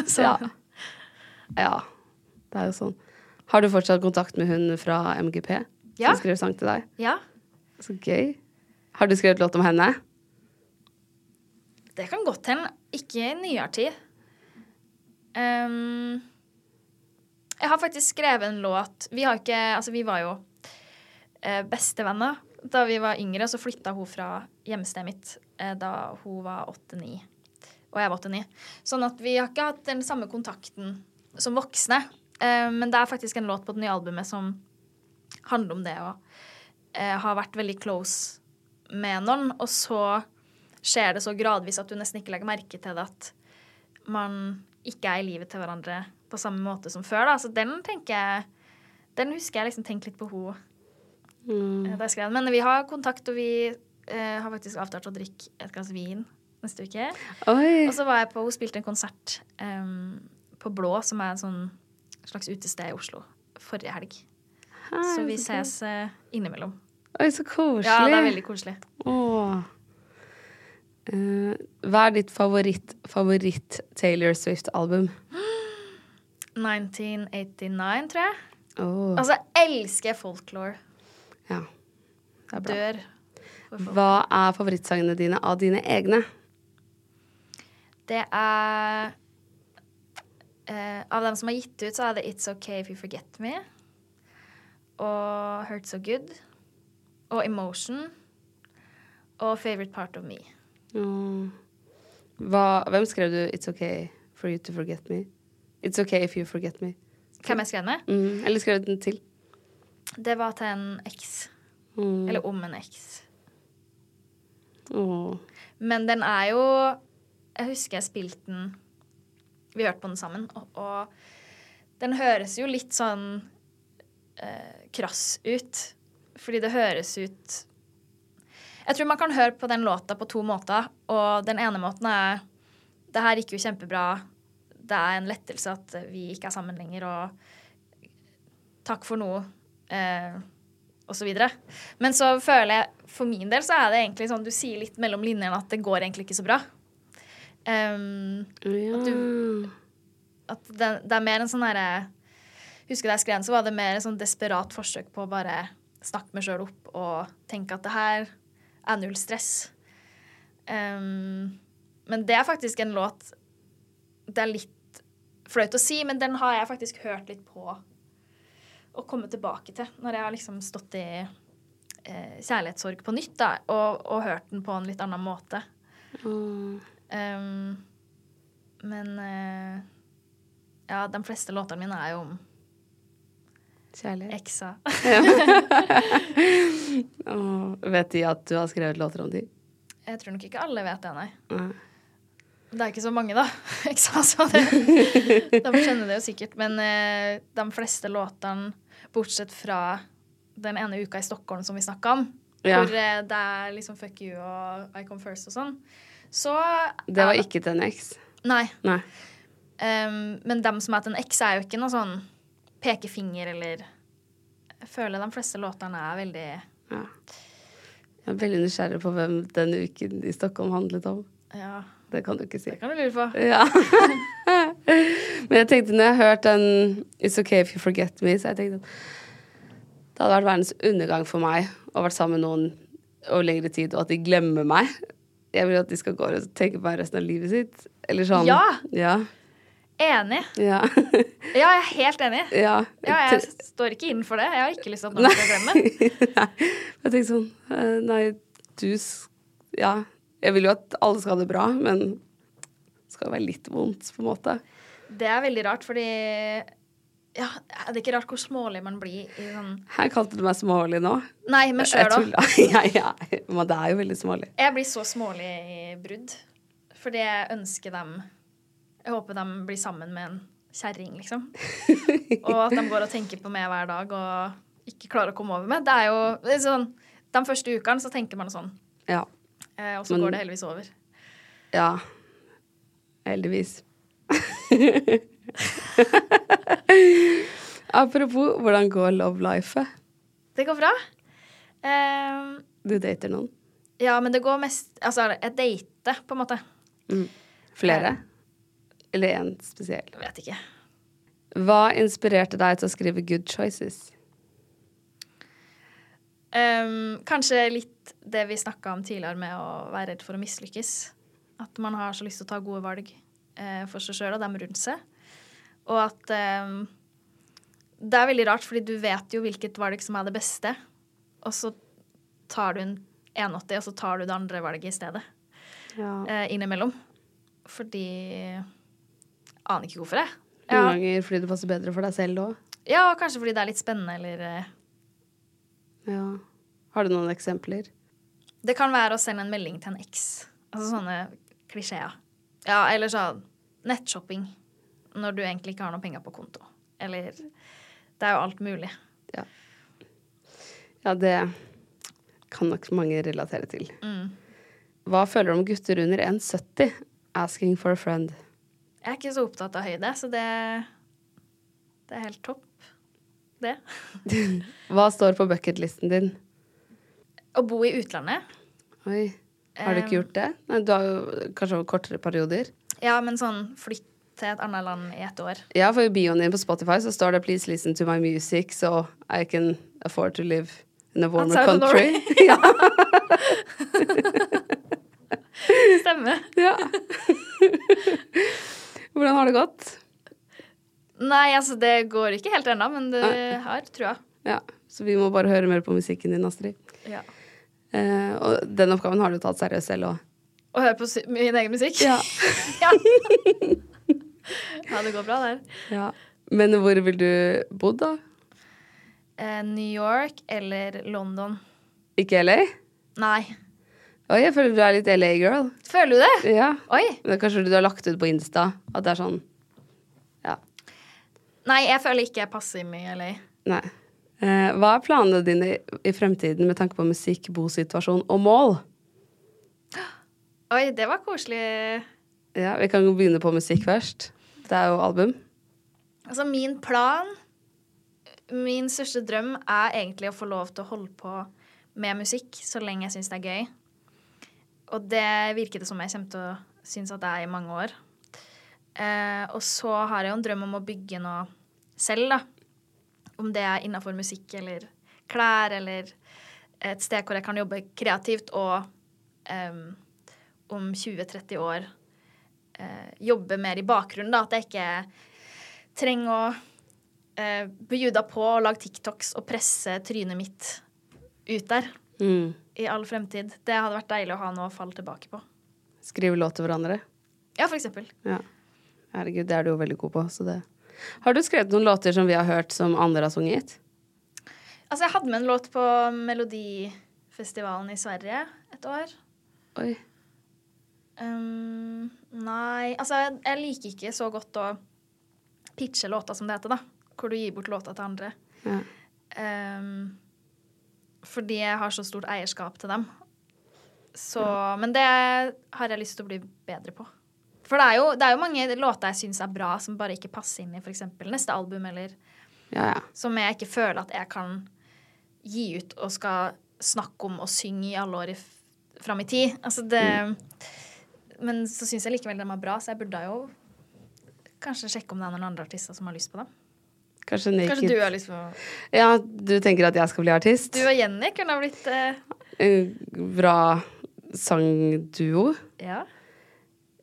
B: Så
A: Ja. Ja. Det er jo sånn. Har du fortsatt kontakt med hun fra MGP
B: Ja.
A: som skrev sang til deg?
B: ja,
A: Så gøy. Har du skrevet låt om henne?
B: det kan godt hende. Ikke i nyere tid. Ehm, jeg har faktisk skrevet en låt Vi har ikke Altså, vi var jo eh, bestevenner da vi var yngre, og så flytta hun fra hjemstedet mitt eh, da hun var åtte-ni. Og jeg var åtte-ni. Sånn at vi har ikke hatt den samme kontakten som voksne. Eh, men det er faktisk en låt på det nye albumet som handler om det å eh, ha vært veldig close med noen, og så skjer det så gradvis at du nesten ikke legger merke til det at man ikke er i livet til hverandre på samme måte som før. Da. Så den tenker jeg Den husker jeg liksom tenkte litt på henne eh, da jeg skrev den. Men vi har kontakt, og vi eh, har faktisk avtalt å drikke et glass vin neste uke.
A: Oi.
B: Og så var jeg på Hun spilte en konsert em, på Blå, som er en sånn slags utested i Oslo, forrige helg. Så vi ses eh, innimellom.
A: Oi, så koselig.
B: Ja, det er veldig koselig.
A: Åh. Eh, hva er ditt favoritt, favoritt Taylor Swift-album?
B: 1989, tror jeg.
A: Åh,
B: Altså, jeg elsker folklore.
A: ja. Det er bra.
B: Dør.
A: Hva er favorittsangene dine av dine egne?
B: Det er eh, Av dem som har gitt ut, så er det It's Okay If You Forget Me. Og Hurt So Good. Og Emotion. Og Favorite Part of Me.
A: Åh. Hva, hvem skrev du 'It's okay for you to forget me'? 'It's okay if you forget me'.
B: Hvem jeg skrev den med?
A: Mm. Eller skrev du den til?
B: Det var til en eks.
A: Mm.
B: Eller om en eks.
A: Åh.
B: Men den er jo Jeg husker jeg spilte den Vi hørte på den sammen, og, og den høres jo litt sånn eh, krass ut. Fordi det høres ut Jeg tror man kan høre på den låta på to måter, og den ene måten er Det her gikk jo kjempebra. Det er en lettelse at vi ikke er sammen lenger, og takk for nå. Eh, og så videre. Men så føler jeg, for min del, så er det egentlig sånn du sier litt mellom linjene at det går egentlig ikke så bra. Ehm,
A: Ja.
B: at det, det er mer en sånn herre Husker da jeg skrev den, så var det mer et sånn desperat forsøk på å bare snakke meg sjøl opp og tenke at det her er null stress. Ehm, men det er faktisk en låt Det er litt flaut å si, men den har jeg faktisk hørt litt på å komme tilbake til når jeg har liksom stått i eh, kjærlighetssorg på nytt da, og, og hørt den på en litt annen måte.
A: Åh.
B: Ehm, men eh, Ja, de fleste låtene mine er jo om
A: Kjærlighet.
B: eksa.
A: Åh, vet de at du har skrevet låter om de?
B: Jeg tror nok ikke alle vet det, nei.
A: Nei.
B: Det er ikke så mange, da. Ikke sant? Så det, de skjønner det jo sikkert. Men eh, de fleste låtene, bortsett fra den ene uka i Stockholm som vi snakka om,
A: Ja.
B: hvor eh, det er liksom fuck you og I come first og sånn, så
A: Det var
B: er-
A: ikke til en eks?
B: Nei.
A: Nei.
B: Em, men dem som er til en X, er jo ikke noe sånn pekefinger eller Jeg føler de fleste låtene er veldig
A: Ja. Jeg er veldig nysgjerrig på hvem den uken i Stockholm handlet om.
B: Ja,
A: Det kan du ikke si.
B: det kan du lure på.
A: Ja. Men jeg tenkte når jeg hørte den It's okay if you forget me, så jeg tenkte at det hadde vært verdens undergang for meg å ha vært sammen med noen over lengre tid, og at de glemmer meg. Jeg vil at de skal gå rundt og tenke på meg resten av livet sitt. Eller sånn.
B: Ja!
A: Ja.
B: Enig.
A: Ja.
B: Ja, jeg er helt enig.
A: ja.
B: Ja, jeg står ikke inn for det. Jeg har ikke lyst til at noen skal glemme.
A: Nei. Jeg tenkte sånn eh, Nei, du s- Ja. Jeg vil jo at alle skal ha det bra, men det skal være litt vondt, på en måte.
B: Det er veldig rart, fordi ja, Det er ikke rart hvor smålig man blir i sånn
A: Her kalte du meg smålig nå.
B: Nei, men
A: Jeg
B: sjøl òg.
A: tulla. Ja, ja. Men det er jo veldig smålig.
B: Jeg blir så smålig i brudd. Fordi jeg ønsker dem Jeg håper de blir sammen med en kjerring, liksom. Og at de går og tenker på meg hver dag og ikke klarer å komme over meg. Det er jo det er sånn De første ukene så tenker man sånn,
A: Ja.
B: eh, og så
A: Men-
B: går det heldigvis over.
A: ja. Heldigvis. Apropos, hvordan går love life?
B: Det går bra. Eh,
A: Du dater noen?
B: ja, men det går mest Altså, jeg dater, på en måte.
A: Flere? Eller én spesiell?
B: Jeg vet ikke.
A: Hva inspirerte deg til å skrive Good Choices?
B: Ehm, kanskje litt det vi snakka om tidligere med å være redd for å mislykkes. At man har så lyst til å ta gode valg eh, for seg sjøl og dem rundt seg. Og at ehm, Det er veldig rart, fordi du vet jo hvilket valg som er det beste. Og så tar du en 81, og så tar du det andre valget i stedet.
A: Ja.
B: Eh, innimellom. Fordi jeg Aner ikke hvorfor, jeg.
A: Noen
B: Ja,
A: ganger fordi det passer bedre for deg selv òg.
B: ja, kanskje fordi det er litt spennende, eller eh,
A: Ja. Har du noen eksempler?
B: Det kan være å sende en melding til en eks. Altså sånne klisjeer. Ja, eller sånn nettshopping når du egentlig ikke har noen penger på konto. Eller Det er jo alt mulig.
A: Ja, det kan nok mange relatere til.
B: Mm.
A: Hva føler du om gutter under 1,70? Asking for a friend.
B: Jeg er ikke så opptatt av høyde, så det Det er helt topp, det.
A: Hva står på bucketlisten din?
B: Å bo i utlandet
A: Oi, har du ikke gjort det? Nei, du har jo kanskje over kortere perioder.
B: Ja, men sånn flytt til et annet land i et år.
A: Ja, for i bioen din på Spotify så står det 'Please listen to my music so I can afford to live in a warmer
B: Outside of
A: country'.
B: Norway.
A: ja,
B: Stemmer.
A: ja. Hvordan har det gått?
B: Nei, altså, det går ikke helt ennå, men det har trua.
A: Ja, så vi må bare høre mer på musikken din, Astrid.
B: Ja.
A: Eh, og den oppgaven har du tatt seriøst selv òg.
B: Å høre på sy- min egen musikk?
A: Ja.
B: ja. Ja, det går bra der.
A: Ja. Men hvor vil du bo, da?
B: Eh, New York eller London?
A: Ikke LA?
B: Nei.
A: Oi, jeg føler du er litt LA-girl.
B: Føler du det?
A: Ja.
B: Oi!
A: Men det er kanskje fordi du har lagt ut på Insta at det er sånn Ja.
B: Nei, jeg føler ikke jeg passer mye i LA.
A: Nei. Eh, hva er planene dine i, i fremtiden med tanke på musikk, bosituasjon og mål?
B: Oi, det var koselig.
A: Ja, Vi kan jo begynne på musikk først. Det er jo album.
B: Altså, min plan Min største drøm er egentlig å få lov til å holde på med musikk så lenge jeg syns det er gøy. Og det virker det som jeg kommer til å synes at det er i mange år. Eh, og så har jeg jo en drøm om å bygge noe selv, da. Om det er innafor musikk eller klær eller et sted hvor jeg kan jobbe kreativt og em, om 20-30 år eh, jobbe mer i bakgrunnen, da. At jeg ikke trenger å eh, bjuda på å lage TikToks og presse trynet mitt ut der
A: Mm.
B: i all fremtid. Det hadde vært deilig å ha noe å falle tilbake på.
A: Skrive låt til hverandre.
B: Ja, for eksempel.
A: Ja. Herregud, det er du jo veldig god på, så det Har du skrevet noen låter som vi har hørt som andre har sunget?
B: Altså, jeg hadde med en låt på Melodifestivalen i Sverige et år.
A: Oi.
B: Ehm, nei Altså, jeg, jeg liker ikke så godt å pitche låta, som det heter, da. Hvor du gir bort låta til andre.
A: Ja.
B: Ehm, fordi jeg har så stort eierskap til dem. Så Men det har jeg lyst til å bli bedre på. For det er jo, det er jo mange låter jeg syns er bra, som bare ikke passer inn i f.eks. neste album, eller
A: Ja, ja.
B: som jeg ikke føler at jeg kan gi ut og skal snakke om og synge i alle år i f- fram i tid. Altså det Men så syns jeg likevel dem er bra, så jeg burde jo kanskje sjekke om det er noen andre artister som har lyst på dem.
A: Kanskje Naked.
B: Kanskje du har lyst på
A: Ja, du tenker at jeg skal bli artist?
B: Du og Jenny kunne ha blitt eh,
A: En bra sangduo.
B: Ja.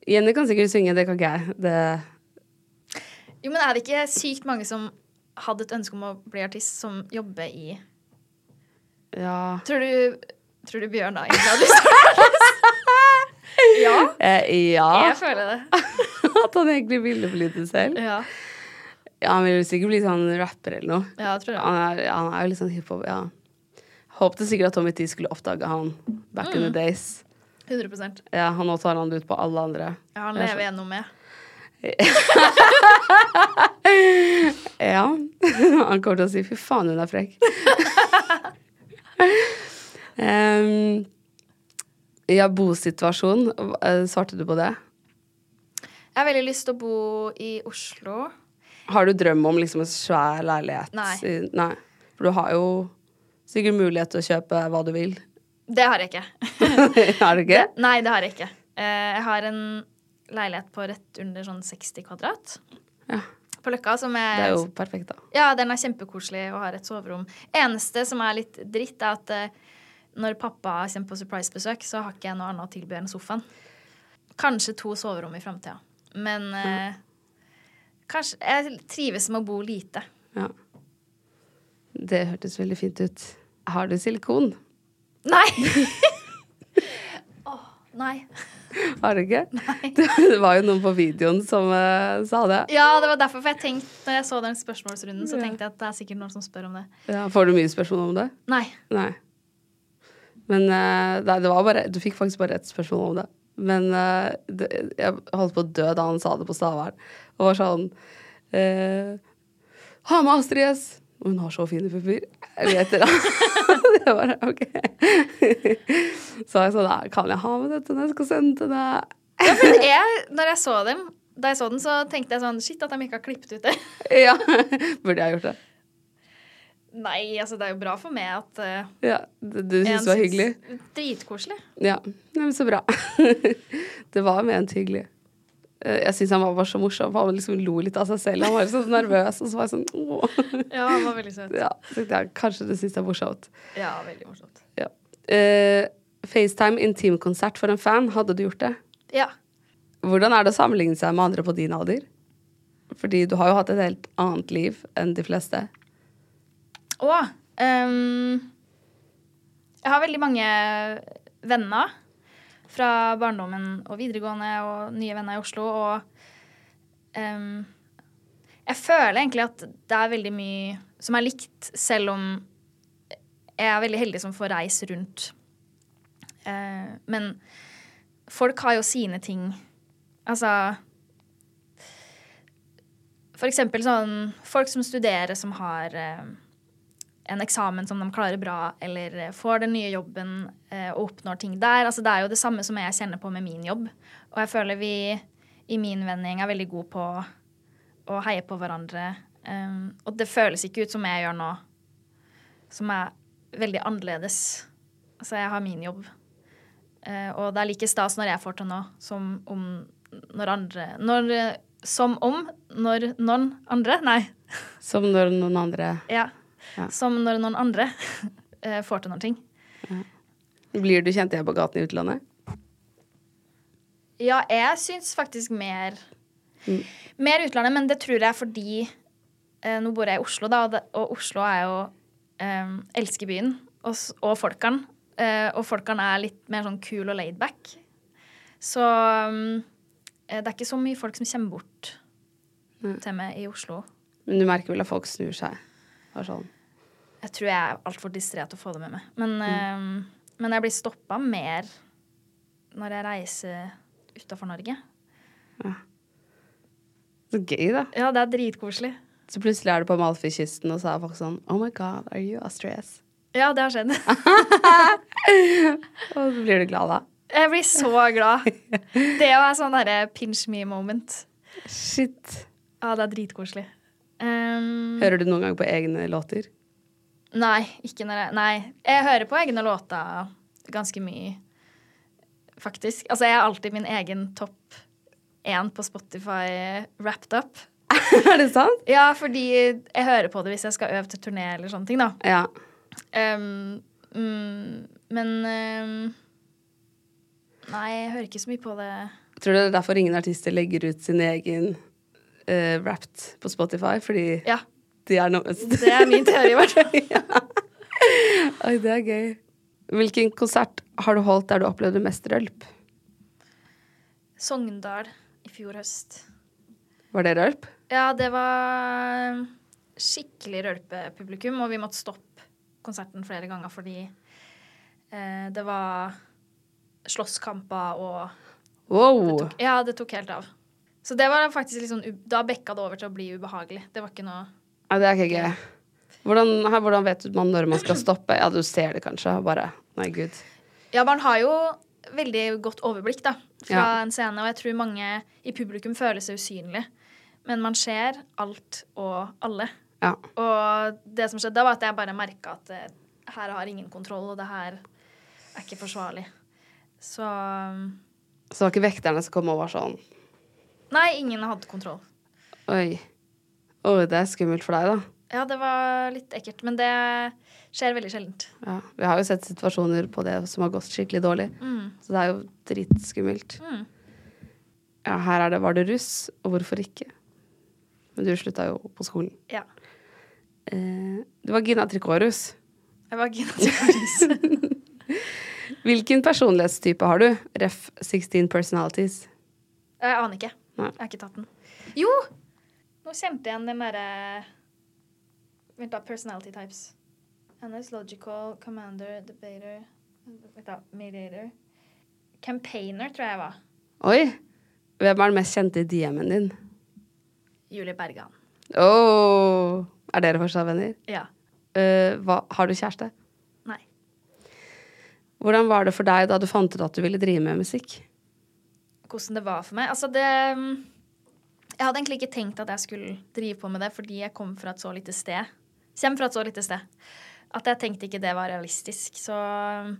A: Jenny kan sikkert synge, det kan ikke jeg. Det
B: Jo, men er det ikke sykt mange som hadde et ønske om å bli artist, som jobber i
A: Ja.
B: Tror du, tror du Bjørn da egentlig hadde lyst til å bli artist? ja,
A: Eh, ja.
B: jeg føler det.
A: At han egentlig ville bli det selv.
B: Ja,
A: Ja, han ville sikkert bli sånn rapper eller noe.
B: ja jeg tror det.
A: Han er, han er jo litt sånn hiphop, ja. Håpte sikkert at Tommy T skulle oppdage han back in the days.
B: 100
A: Ja, han nå tar han det ut på alle andre.
B: Ja, han lever gjennom med.
A: Ja. Han kommer til å si 'fy faen, hun er frekk'. Em, ja, bosituasjon. Hva- eh, Svarte du på det?
B: Jeg har veldig lyst til å bo i Oslo.
A: Har du drøm om liksom en svær leilighet?
B: Nei.
A: I- Nei. For du har jo sikkert mulighet til å kjøpe hva du vil.
B: Det har jeg ikke.
A: Har du ikke?
B: Nei, det har jeg ikke. Eh, Jeg har en leilighet på rett under sånn 60 kvadrat
A: Ja.
B: på Løkka som
A: Det er
B: er
A: jo perfekt, da.
B: Ja, den er kjempekoselig og har et soverom. Eneste som er litt dritt, er at eh, når pappa kommer på surprise-besøk, så har ikke jeg noe annet å tilby enn sofaen. Kanskje to soverom i framtida. Men eh, kanskje Jeg trives med å bo lite.
A: Ja. Det hørtes veldig fint ut. Har du silikon?
B: Nei! Åh, nei.
A: Har du ikke? Det var jo noen på videoen som eh, sa det.
B: Ja, det var derfor for jeg tenkte, når jeg så den spørsmålsrunden, så tenkte jeg at det er sikkert noen som spør om det.
A: Ja, får du mye spørsmål om det?
B: Nei.
A: Nei. Men eh, nei, det var bare Du fikk faktisk bare ett spørsmål om det. Men eh, det, jeg holdt på å dø da han sa det på Stavern. Og var sånn eh, Ha med Astrid S! Og Hun har så fine pupper. Eller et eller annet. det var OK. så jeg sa nei, kan jeg ha med dette når jeg skal sende til deg?
B: Ja, men jeg, når jeg så dem, da jeg så den, så tenkte jeg sånn Shit, at de ikke har klippet ut det.
A: ja. Burde jeg gjort det?
B: Nei, altså det er jo bra for meg at eh,
A: Ja, Du, du
B: en
A: syntes det var
B: syns-
A: hyggelig?
B: Dritkoselig.
A: Ja. Nei, men så bra. det var ment hyggelig. Eh, Jeg syns han var bare så morsom, for han liksom lo litt av seg selv. Han var så nervøs, og så var jeg sånn Åh.
B: Ja, han var veldig søt.
A: Ja, så tenkte jeg, Kanskje du syns det er morsomt.
B: Ja, veldig morsomt.
A: Ja. Eh, FaceTime intimkonsert for en fan, hadde du gjort det?
B: Ja.
A: Hvordan er det å sammenligne seg med andre på din alder? Fordi du har jo hatt et helt annet liv enn de fleste.
B: Og ehm, jeg har veldig mange venner fra barndommen og videregående og nye venner i Oslo, og ehm, jeg føler egentlig at det er veldig mye som er likt, selv om jeg er veldig heldig som får reise rundt. Eh, men folk har jo sine ting. Altså For eksempel sånn folk som studerer, som har eh, en eksamen som de klarer bra, eller eh, får den nye jobben eh, og oppnår ting der. Altså, det er jo det samme som jeg kjenner på med min jobb. Og jeg føler vi i min vennegjeng er veldig gode på å heie på hverandre. Um, og det føles ikke ut som jeg gjør nå, som er veldig annerledes. Altså, jeg har min jobb. Eh, og det er like stas når jeg får til noe, som om når andre når, eh, Som om når noen andre Nei.
A: Som når noen andre
B: Ja.
A: Ja.
B: Som når noen andre eh, får til noen ting.
A: Blir du kjent igjen på gaten i utlandet?
B: Ja, jeg syns faktisk mer Mer utlandet, men det tror jeg er fordi eh, Nå bor jeg i Oslo, da, og, det, og Oslo er jo eh, Elsker byen og, s- og folkene. Eh, og folkene er litt mer sånn cool og laid back. Så mm, eh, det er ikke så mye folk som kommer bort temme i Oslo.
A: Men du merker vel at folk snur seg. Bare sånn.
B: Jeg tror jeg er altfor distré til å få det med meg. Men, eh, men jeg blir stoppa mer når jeg reiser utafor Norge.
A: Så gøy, da.
B: Ja, det er dritkoselig.
A: Så plutselig er du på Malfi-kysten, og så er folk sånn Oh my God, are you Austrias?
B: Ja, det har skjedd.
A: Og så blir du glad da.
B: Jeg blir så glad. Det er sånn derre pinch me moment.
A: Shit.
B: Ja, det er dritkoselig. Um,
A: Mm. Hører du noen gang på egne låter?
B: Nei, ikke når jeg Nei. Jeg hører på egne låter ganske mye, faktisk. Altså, jeg er alltid min egen topp én på Spotify wrapped up.
A: er det sant?
B: Ja, fordi jeg hører på det hvis jeg skal øve til turné eller sånne ting, da.
A: Ja.
B: Um, mm, men um, Nei, jeg hører ikke så mye på det.
A: Tror du det er derfor ingen artister legger ut sin egen eh, Wrapped på Spotify? Fordi
B: Ja,
A: de er nærmest
B: det er min teori, i hvert fall.
A: Oi, det er gøy. Hvilken konsert har du holdt der du opplevde mest rølp?
B: Sogndal i fjor høst.
A: Var det rølp?
B: Ja, det var skikkelig rølpepublikum, og vi måtte stoppe konserten flere ganger fordi eh, det var slåsskamper og
A: Wow!
B: Ja, det tok helt av. Så det var faktisk litt sånn u- Da bekka det over til å bli ubehagelig. Det var ikke noe
A: Ja, det er ikke gøy. Hvordan, her, hvordan vet man når man skal stoppe? Ja, du ser det kanskje. Bare Nei, gud.
B: Ja, man har jo veldig godt overblikk, da, fra
A: Ja.
B: en scene, og jeg tror mange i publikum føler seg usynlige. Men man ser alt og alle.
A: Ja.
B: Og det som skjedde da, var at jeg bare merka at eh, her har ingen kontroll, og det her er ikke forsvarlig. Så um,
A: Så det var ikke vekterne som kom og var sånn
B: Nei, ingen hadde kontroll.
A: Oi. Oi, det er skummelt for deg, da.
B: Ja, det var litt ekkelt, men det skjer veldig sjeldent.
A: Ja, vi har jo sett situasjoner på det som har gått skikkelig dårlig. Så det er jo dritskummelt. Ja, her er det, var det russ, og hvorfor ikke? Men du slutta jo på skolen.
B: Ja.
A: Eh, du var Gina Trikorus.
B: Jeg var gymnastikkartist.
A: Hvilken personlighetstype har du? Ref 16 personalities.
B: jeg aner ikke.
A: Nei.
B: Jeg har ikke tatt den. Jo! Nå kjente jeg igjen den derre Vent, da. Personality types. NS logical, commander, debater Vent, da. Mediator. Campaigner, tror jeg jeg var.
A: Oi! Hvem er den mest kjente i DM-en din?
B: Julie Bergan.
A: Åh, er dere fortsatt venner?
B: Ja.
A: Eh, hva, har du kjæreste?
B: Nei.
A: Hvordan var det for deg da du fant ut at du ville drive med musikk?
B: Hvordan det var for meg? Altså, det mm, Jeg hadde egentlig ikke tenkt at jeg skulle drive på med det, fordi jeg kom fra et så lite sted. Kjem fra et så lite sted. At jeg tenkte ikke det var realistisk. Så mm,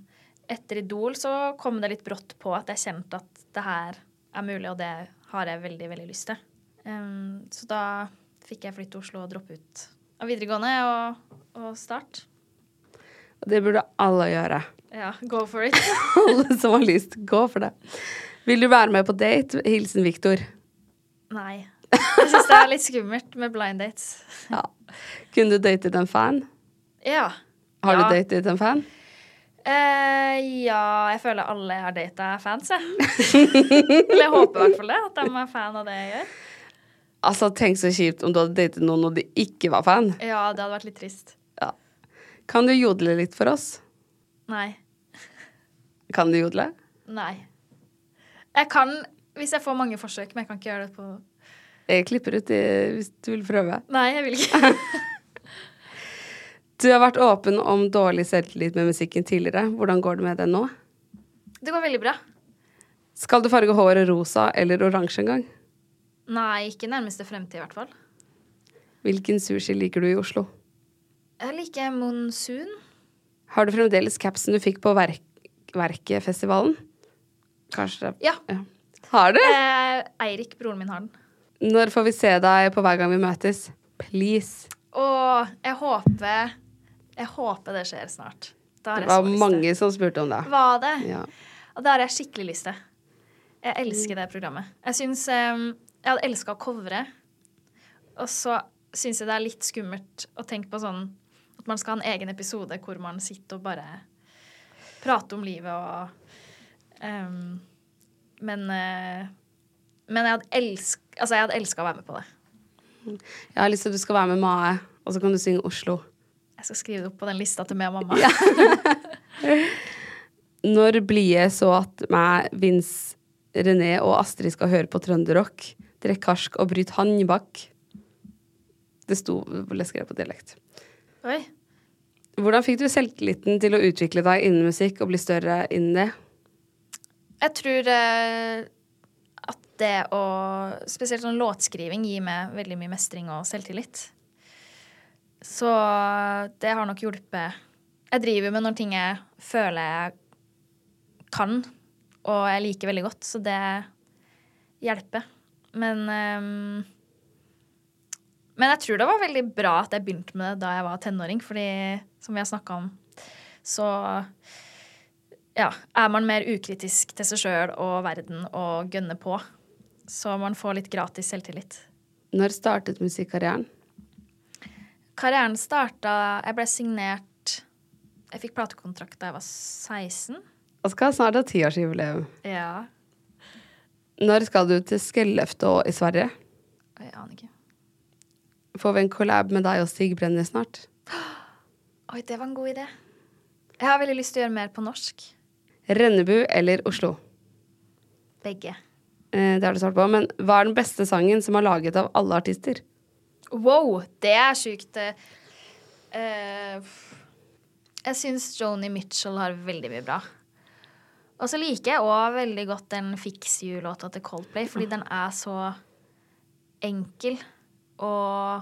B: etter Idol så kom det litt brått på at jeg kjente at det her er mulig, og det har jeg veldig, veldig lyst til. Um, så da fikk jeg flytte til Oslo og droppe ut av videregående og, og start.
A: Det burde alle gjøre.
B: Ja, go for it.
A: Alle som har lyst, gå for det. Vil du være med på date? Hilsen Viktor.
B: Nei. Jeg syns det er litt skummelt med blind dates.
A: Ja. Kunne du datet en fan?
B: Ja.
A: Har
B: Ja.
A: du datet en fan?
B: Eh, ja, jeg føler alle jeg har data, er fans, jeg. Eller jeg håper i hvert fall det. At de er fan av det jeg gjør.
A: Altså, tenk så kjipt om du hadde datet noen og de ikke var fan.
B: Ja, det hadde vært litt trist.
A: Ja. Kan du jodle litt for oss?
B: Nei.
A: Kan du jodle?
B: Nei. Jeg kan hvis jeg får mange forsøk, men jeg kan ikke gjøre det på
A: Jeg klipper ut det hvis du vil prøve.
B: Nei, jeg vil ikke.
A: Du har vært åpen om dårlig selvtillit med musikken tidligere. Hvordan går det med det nå?
B: Det går veldig bra.
A: Skal du farge håret rosa eller oransje en gang?
B: Nei, ikke nærmeste fremtid, i hvert fall.
A: Hvilken sushi liker du i Oslo?
B: Jeg liker monsun.
A: Har du fremdeles capsen du fikk på verk Verkefestivalen? Kanskje det
B: Ja.
A: Har du?
B: Eh, Eirik, broren min, har den.
A: Når får vi se deg på hver gang vi møtes? Please.
B: Og jeg håper Jeg håper det skjer snart. Da
A: Det
B: har jeg
A: var
B: så lyst til.
A: mange som spurte om det.
B: Var det?
A: Ja.
B: Og det har jeg skikkelig lyst til. Jeg elsker det programmet. Jeg syns um, Jeg hadde elska å covre. Og så syns jeg det er litt skummelt å tenke på sånn at man skal ha en egen episode hvor man sitter og bare prater om livet og um, Men eh, Men jeg hadde elsk... Altså, jeg hadde elska å være med på det.
A: Jeg har lyst til at du skal være med Mae, og så kan du synge Oslo.
B: Jeg skal skrive det opp på den lista til meg og mamma.
A: Når blide så at meg, Vince, René og Astrid skal høre på trønderrock, drikk karsk og bryt handbak. Det sto ble skrevet på dialekt.
B: Oi.
A: Hvordan fikk du selvtilliten til å utvikle deg innen musikk og bli større innen det?
B: Jeg tror eh, at det å Spesielt sånn låtskriving gir meg veldig mye mestring og selvtillit. Så det har nok hjulpet. Jeg driver med noen ting jeg føler jeg kan, og jeg liker veldig godt, så det hjelper. Men eh, men jeg tror det var veldig bra at jeg begynte med det da jeg var tenåring, fordi som vi har snakka om, så ja, er man mer ukritisk til seg sjøl og verden og gønner på. Så man får litt gratis selvtillit.
A: Når startet musikkarrieren?
B: Karrieren starta Jeg ble signert Jeg fikk platekontrakt da jeg var 16.
A: Og skal Altså, snart ha tiårsjubileum.
B: Ja.
A: Når skal du til Skellefteå i Sverige?
B: Jeg aner ikke.
A: Får vi en collab med deg og Stig Brenner snart?
B: Oi, det var en god idé. Jeg har veldig lyst til å gjøre mer på norsk.
A: Rennebu eller Oslo?
B: Begge.
A: Eh, det har du svart på. Men hva er den beste sangen som er laget av alle artister?
B: Wow, det er sjukt. eh, eh, jeg syns Joni Mitchell har veldig mye bra. Og så liker jeg òg veldig godt den Fix You-låta til Coldplay, fordi den er så enkel og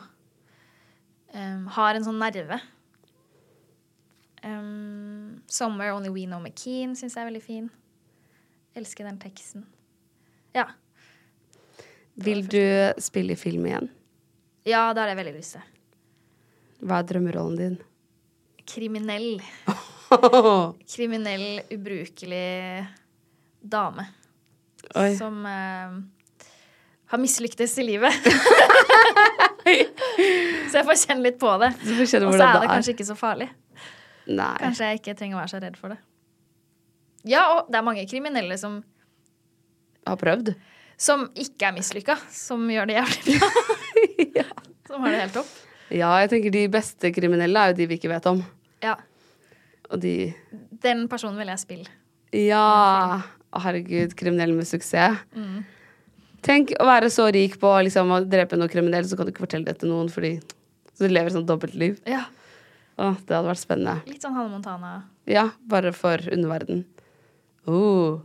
B: em, har en sånn nerve. Em, Somewhere Only We Know McKean syns jeg er veldig fin. Elsker den teksten. Ja.
A: Vil du spille i film igjen?
B: Ja, det har jeg veldig lyst til.
A: Hva er drømmerollen din?
B: Kriminell.
A: Oi.
B: kriminell, ubrukelig dame som eh, har mislyktes i livet. så jeg får kjenne litt på det.
A: Du får kjenne
B: Og så
A: hvordan
B: er
A: det
B: det
A: er.
B: kanskje ikke så farlig.
A: Nei.
B: Kanskje jeg ikke trenger å være så redd for det. Ja, og det er mange kriminelle som,
A: Har prøvd?
B: som ikke er mislykka, som gjør det jævlig bra. Som har det helt topp.
A: Ja, jeg tenker de beste kriminelle er jo de vi ikke vet om.
B: Ja.
A: Og de
B: Den personen vil jeg spille.
A: Ja! Å, Herregud, kriminell med suksess. Tenk å være så rik på liksom, å drepe noe kriminell, så kan du ikke fortelle det til noen, fordi så du lever et sånt dobbeltliv.
B: Ja,
A: Å, det hadde vært spennende.
B: Litt sånn Hanne Montana.
A: Ja, bare for underverden. Oh.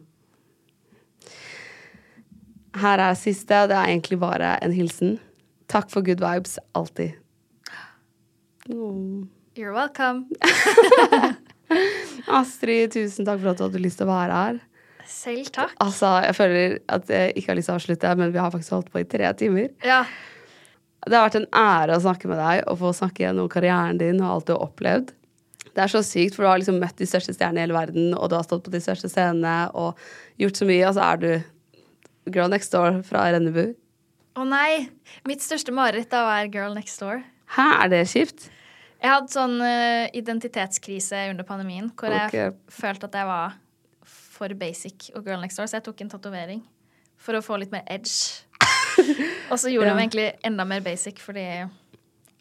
A: Her er siste, og det er egentlig bare en hilsen. Takk for good vibes, alltid. Åh.
B: You're welcome.
A: Astrid, tusen takk for at du hadde lyst til å være her.
B: Selv takk.
A: Altså, Jeg føler at jeg ikke har lyst til å avslutte, men vi har faktisk holdt på i tre timer.
B: Ja.
A: Det har vært en ære å snakke med deg og få snakke gjennom karrieren din og alt du har opplevd. Det er så sykt, for du har liksom møtt de største stjernene i hele verden, og du har stått på de største scenene og gjort så mye, og så er du girl next door fra Rennebu.
B: Å nei! Mitt største mareritt da var Girl Next Door.
A: Hæ, er det kjipt?
B: Jeg hadde sånn eh, identitetskrise under pandemien hvor jeg
A: Ok.
B: f- følte at jeg var for basic og Girl Next Door, så jeg tok en tatovering for å få litt mer edge. og så
A: Ja.
B: gjorde de meg egentlig enda mer basic fordi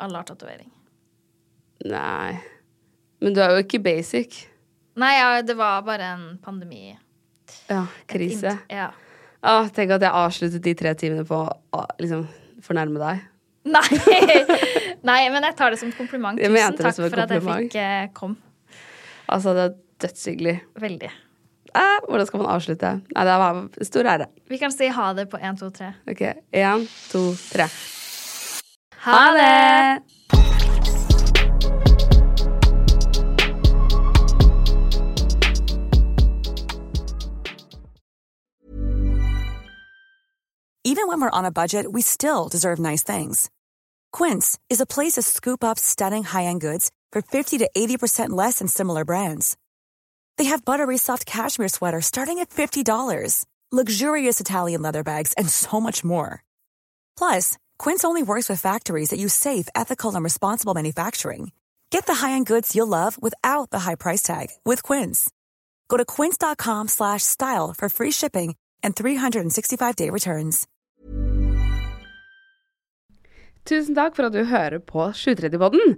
B: alle har tatovering.
A: Nei. Men du er jo ikke basic.
B: Nei, ja, det var bare en pandemi.
A: Ja, krise.
B: Int- Ja.
A: Åh, tenk at jeg avsluttet de tre timene på å ah, liksom fornærme deg.
B: Nei. Nei, men jeg tar det som kompliment.
A: Jeg
B: Tusen
A: mente det
B: takk
A: som en
B: for at jeg
A: kompliment.
B: fikk eh, kom.
A: Altså, det er dødshyggelig.
B: Veldig.
A: Eh, hvordan skal man avslutte? Nei, det var en stor ære.
B: Vi kan si ha det på én, to, tre.
A: Ok, én, to, tre.
B: Ha det!
G: Even when we're on a budget, we still deserve nice things. Quince is a place to scoop up stunning high-end goods for 50 to 80% less than similar brands. They have buttery soft cashmere sweaters starting at $50, luxurious Italian leather bags, and so much more. Plus, Quince only works with factories that use safe, ethical, and responsible manufacturing. Get the high-end goods you'll love without the high price tag with Quince. Go to quince.com slash style for free shipping and 365-day returns.
A: Tusen takk for at du hører på 730-podden.